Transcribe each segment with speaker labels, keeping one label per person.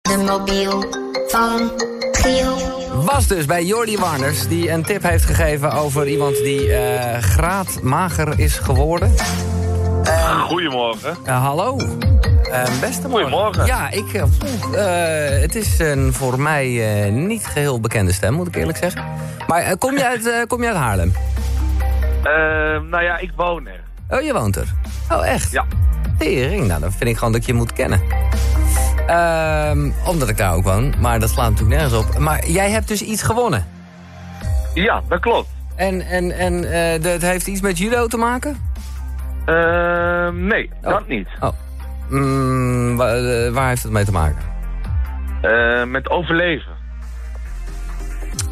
Speaker 1: de mobiel van Giel.
Speaker 2: Was dus bij Jordi Warners, die een tip heeft gegeven over iemand die eh, graadmager is geworden.
Speaker 3: Goedemorgen.
Speaker 2: Eh, hallo. Eh, beste morgen.
Speaker 3: Goedemorgen.
Speaker 2: Ja, ik, eh, poeh, eh, het is een voor mij eh, niet geheel bekende stem, moet ik eerlijk zeggen. Maar eh, kom, je uit, eh, kom je uit Haarlem?
Speaker 3: Ehm, nou ja, ik woon er.
Speaker 2: Oh, je woont er? Oh, echt?
Speaker 3: Ja.
Speaker 2: Tering, nou dan vind ik gewoon dat ik je moet kennen. Ehm, omdat ik daar ook woon, maar dat slaat natuurlijk nergens op. Maar jij hebt dus iets gewonnen.
Speaker 3: Ja, dat klopt.
Speaker 2: En, en, en eh, dat heeft iets met judo te maken?
Speaker 3: Ehm, nee, dat niet.
Speaker 2: Oh. Mm, wa- eh, waar heeft het mee te maken?
Speaker 3: Ehm, met overleven.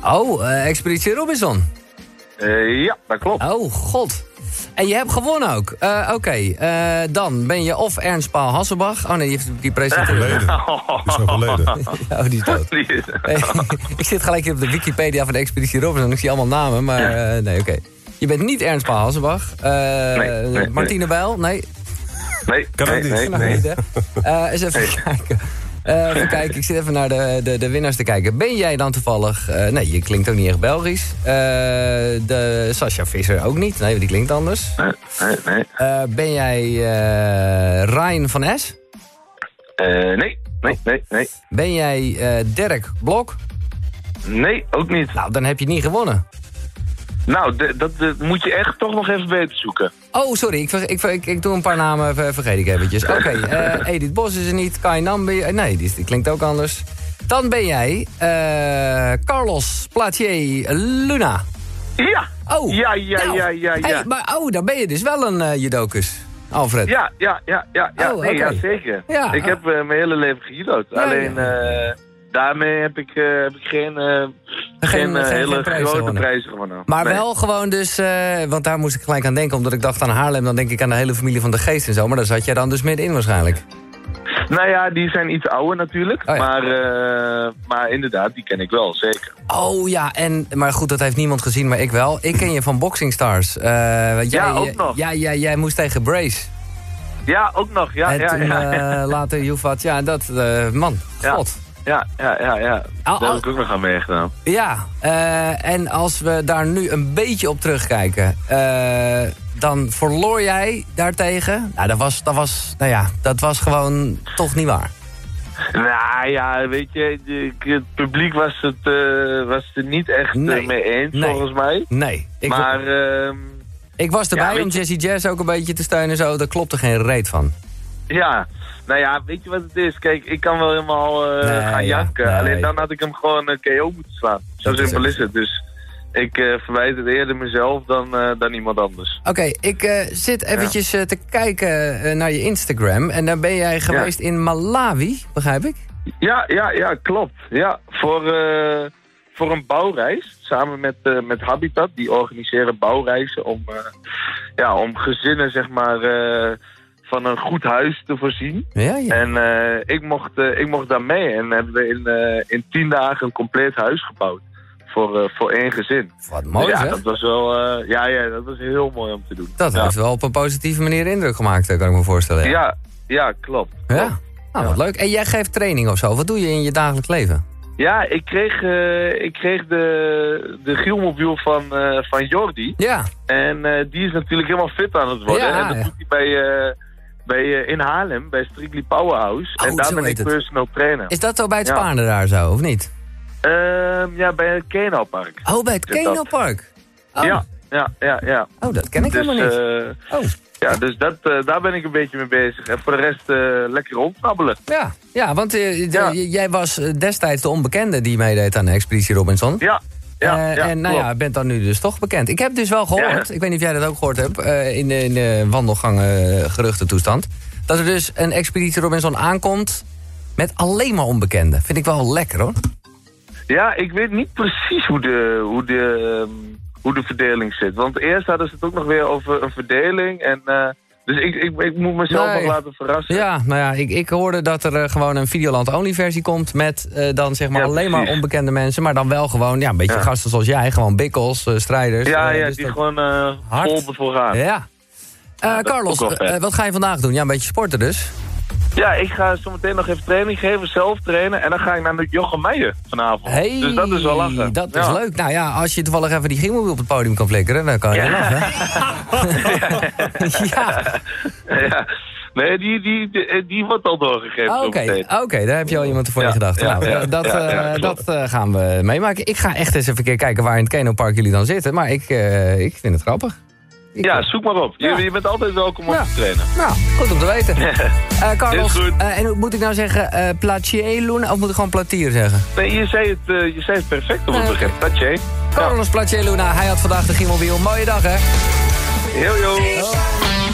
Speaker 2: Oh, eh, Expeditie Robinson.
Speaker 3: Eh, ja, dat klopt.
Speaker 2: Oh, god. En je hebt gewonnen ook. Eh, Oké, eh, dan ben je of Ernst Paul Hasselbach. Oh nee, die, heeft- die presenteert.
Speaker 4: Verleden. Het is overleden.
Speaker 2: Oh, die is dood.
Speaker 3: Die is-
Speaker 2: Nee, ik zit gelijk hier op de Wikipedia van de Expeditie Robinson. Ik zie allemaal namen, maar eh, nee, oké. Je bent niet Ernst Paul Hasselbach. Eh,
Speaker 3: nee.
Speaker 2: Martine Bijl? Nee,
Speaker 3: Nee,
Speaker 4: Kan ook
Speaker 3: nee,
Speaker 4: niet.
Speaker 3: nee,
Speaker 2: nog
Speaker 3: nee.
Speaker 2: niet, hè? Eh, eens even kijken. Eh, even kijken, ik zit even naar de, de, de winnaars te kijken. Ben jij dan toevallig... eh, nee, je klinkt ook niet echt Belgisch. Eh, de Sascha Visser ook niet. Nee, die klinkt anders.
Speaker 3: Nee, nee, nee.
Speaker 2: Eh, ben jij eh Ryan van S?
Speaker 3: Eh, nee, nee, nee, nee.
Speaker 2: Ben jij eh, Dirk Blok?
Speaker 3: Nee, ook niet.
Speaker 2: Nou, dan heb je het niet gewonnen.
Speaker 3: Nou, de- dat eh, moet je echt toch nog even beter zoeken.
Speaker 2: Oh, sorry, ik, ver- ik, ver- ik, ik doe een paar namen, ver- vergeet ik eventjes. Oké, eh, Edith Bos is er niet, Kai Nambi... eh, Nee, die, die klinkt ook anders. Dan ben jij eh, Carlos Platier Luna.
Speaker 3: Ja!
Speaker 2: Oh,
Speaker 3: Ja, ja,
Speaker 2: nou,
Speaker 3: ja, ja, ja.
Speaker 2: hey, maar oh, dan ben je dus wel een eh judokus, Alfred.
Speaker 3: Ja, ja, ja, ja, ja.
Speaker 2: Oh,
Speaker 3: nee,
Speaker 2: oké.
Speaker 3: ja zeker.
Speaker 2: Ja,
Speaker 3: ik
Speaker 2: oh.
Speaker 3: heb eh, mijn hele leven gejudo'd.
Speaker 2: Ja,
Speaker 3: Alleen eh, daarmee heb ik, eh, heb ik geen, eh, geen, eh,
Speaker 2: geen-
Speaker 3: hele
Speaker 2: geen prijzen
Speaker 3: grote
Speaker 2: gewonnen.
Speaker 3: prijzen gewonnen.
Speaker 2: Maar
Speaker 3: Nee.
Speaker 2: wel gewoon dus, eh, want daar moest ik gelijk aan denken, omdat ik dacht aan Haarlem, dan denk ik aan de hele familie van de geest en zo, maar daar zat jij dan dus middenin waarschijnlijk.
Speaker 3: Nou ja, die zijn iets ouder natuurlijk.
Speaker 2: Oh, ja.
Speaker 3: maar, eh, maar inderdaad, die ken ik wel, zeker.
Speaker 2: Oh ja, en, maar goed, dat heeft niemand gezien, maar ik wel. Ik ken je van Boxing Stars. Eh, want jij,
Speaker 3: Ja, ook nog.
Speaker 2: Ja, ja, jij moest tegen Brace.
Speaker 3: Ja, ook nog. Ah, Ja,
Speaker 2: en
Speaker 3: ja,
Speaker 2: toen
Speaker 3: ja, ja,
Speaker 2: eh, later Joefat, ja, dat, eh, man,
Speaker 3: Ja.
Speaker 2: god. Ah,
Speaker 3: ja, ja, ja,
Speaker 2: Al-
Speaker 3: Daar
Speaker 2: al-
Speaker 3: heb ik ook nog aan meegedaan.
Speaker 2: Ja, eh, en als we daar nu een beetje op terugkijken... eh, dan verloor jij daartegen. Nou, dat was, dat was, nou ja, dat was gewoon toch niet waar.
Speaker 3: Nou ja, weet je, ik- het publiek was het, eh, was het er niet echt eh,
Speaker 2: Nee.
Speaker 3: mee eens,
Speaker 2: Nee.
Speaker 3: volgens mij.
Speaker 2: Nee, ik,
Speaker 3: maar ehm,
Speaker 2: ik was erbij
Speaker 3: Ja, weet
Speaker 2: om
Speaker 3: je-
Speaker 2: Jesse Jazz ook een beetje te steunen. Zo, daar klopte geen reet van.
Speaker 3: ja, nou ja, weet je wat het is? Kijk, ik kan wel helemaal eh,
Speaker 2: Nee,
Speaker 3: gaan
Speaker 2: ja,
Speaker 3: janken.
Speaker 2: nee.
Speaker 3: Alleen dan had ik hem gewoon eh, KO moeten slaan. Zo
Speaker 2: Dat is
Speaker 3: simpel
Speaker 2: ook
Speaker 3: is
Speaker 2: zo.
Speaker 3: het. Dus ik eh, verwijt het eerder mezelf dan, eh, dan iemand anders.
Speaker 2: Oké, ik eh, zit eventjes eh, te kijken eh, naar je Instagram. En daar ben jij geweest in Malawi, begrijp ik?
Speaker 3: Ja, ja, ja, klopt. Ja, voor, eh, voor een bouwreis, samen met, eh, met Habitat, die organiseren bouwreizen om, eh, ja, om gezinnen zeg maar, eh, van een goed huis te voorzien.
Speaker 2: Ja, ja.
Speaker 3: En eh, ik, mocht, eh, ik mocht daar mee en hebben we in, eh, in tien dagen een compleet huis gebouwd. Voor, eh, voor één gezin.
Speaker 2: Wat mooi,
Speaker 3: ja,
Speaker 2: zeg.
Speaker 3: dat was wel, eh, ja, ja, dat was heel mooi om te doen.
Speaker 2: Dat
Speaker 3: ja.
Speaker 2: heeft wel op een positieve manier indruk gemaakt, eh, kan ik me voorstellen. ja.
Speaker 3: Ja, ja, klopt. klopt.
Speaker 2: Ja? Nou, wat leuk. En jij geeft training of zo. Wat doe je in je dagelijks leven?
Speaker 3: Ja, ik kreeg, eh, ik kreeg de, de Gielmobiel van, eh, van Jordi.
Speaker 2: Ja.
Speaker 3: En eh, die is natuurlijk helemaal fit aan het worden.
Speaker 2: Ja,
Speaker 3: en dat
Speaker 2: ja.
Speaker 3: doet hij bij, eh, bij, eh, in Haarlem, bij Strictly Powerhouse.
Speaker 2: Oh,
Speaker 3: en daar
Speaker 2: zo
Speaker 3: ben ik
Speaker 2: heet het.
Speaker 3: personal trainer.
Speaker 2: Is dat zo bij het
Speaker 3: Ja.
Speaker 2: Spaarne daar zo, of niet?
Speaker 3: Ehm, ja, bij het Kenalpark.
Speaker 2: Oh, bij het
Speaker 3: Is dat-
Speaker 2: Kenelpark. Oh.
Speaker 3: Ja, ja, ja, ja.
Speaker 2: oh, dat ken ik
Speaker 3: dus,
Speaker 2: helemaal niet.
Speaker 3: eh,
Speaker 2: oh,
Speaker 3: ja, dus dat, eh, daar ben ik een beetje mee bezig. En voor de rest eh, lekker rondkrabbelen.
Speaker 2: ja. Ja, want eh, de-
Speaker 3: Ja.
Speaker 2: j- jij was eh, destijds de onbekende die meedeed aan de Expeditie Robinson.
Speaker 3: Ja, ja,
Speaker 2: Eh,
Speaker 3: ja,
Speaker 2: en nou ja, bent dan nu dus toch bekend. Ik heb dus wel gehoord,
Speaker 3: Ja.
Speaker 2: ik weet niet of jij dat ook gehoord hebt... eh, in de, in de wandelgangen eh, geruchtentoestand... dat er dus een Expeditie Robinson aankomt met alleen maar onbekenden. Vind ik wel lekker, hoor.
Speaker 3: Ja, ik weet niet precies hoe de, hoe de, ehm, hoe de verdeling zit. Want eerst hadden ze het ook nog weer over een verdeling. En, eh, dus ik, ik, ik moet mezelf
Speaker 2: Nee.
Speaker 3: nog laten verrassen.
Speaker 2: Ja, nou ja, ik, ik hoorde dat er eh, gewoon een Videoland Only versie komt... met eh, dan zeg maar
Speaker 3: Ja,
Speaker 2: alleen maar
Speaker 3: precies.
Speaker 2: onbekende mensen... maar dan wel gewoon ja, een beetje
Speaker 3: Ja.
Speaker 2: gasten zoals jij. Gewoon bikkels, eh, strijders.
Speaker 3: ja,
Speaker 2: eh,
Speaker 3: ja
Speaker 2: dus
Speaker 3: die
Speaker 2: dat-
Speaker 3: gewoon eh
Speaker 2: Hard.
Speaker 3: vol ervoor gaan.
Speaker 2: Ja. Eh,
Speaker 3: dat is
Speaker 2: Carlos,
Speaker 3: ook wel vet.
Speaker 2: eh, wat ga je vandaag doen? Ja, een beetje sporten dus.
Speaker 3: Ja, ik ga zometeen nog even training geven, zelf trainen. En dan ga ik naar de Jochem Meijer vanavond.
Speaker 2: Hey,
Speaker 3: dus dat is wel lachen.
Speaker 2: Dat is
Speaker 3: Ja.
Speaker 2: leuk. Nou ja, als je toevallig even die griemelwiel op het podium kan flikkeren, dan kan je wel lachen. ja,
Speaker 3: Ja. Nee, die, die, die, die wordt al doorgegeven.
Speaker 2: Ah, oké.
Speaker 3: zometeen.
Speaker 2: oké, daar heb je al iemand voor in
Speaker 3: Ja,
Speaker 2: gedachten.
Speaker 3: ja,
Speaker 2: Nou,
Speaker 3: ja,
Speaker 2: dat
Speaker 3: ja,
Speaker 2: eh,
Speaker 3: ja, klopt.
Speaker 2: dat eh, gaan we meemaken. Ik ga echt eens even een keer kijken waar in het Kenopark jullie dan zitten. Maar ik, eh, ik vind het grappig. Ik-
Speaker 3: Ja, zoek maar op. Je,
Speaker 2: Ja.
Speaker 3: je bent altijd welkom om
Speaker 2: Ja.
Speaker 3: te trainen.
Speaker 2: Nou, goed om te weten. Eh, Carlos,
Speaker 3: Is goed.
Speaker 2: eh, en hoe- moet ik nou zeggen eh Platier Luna of moet ik gewoon Platier zeggen?
Speaker 3: Nee, je zei het, eh, je zei het perfect op het
Speaker 2: Nee,
Speaker 3: begin. Dat je. Ja.
Speaker 2: Carlos Platier Luna, hij had vandaag de Giemelwiel. Mooie dag, hè?
Speaker 3: Heel joh.
Speaker 1: Show.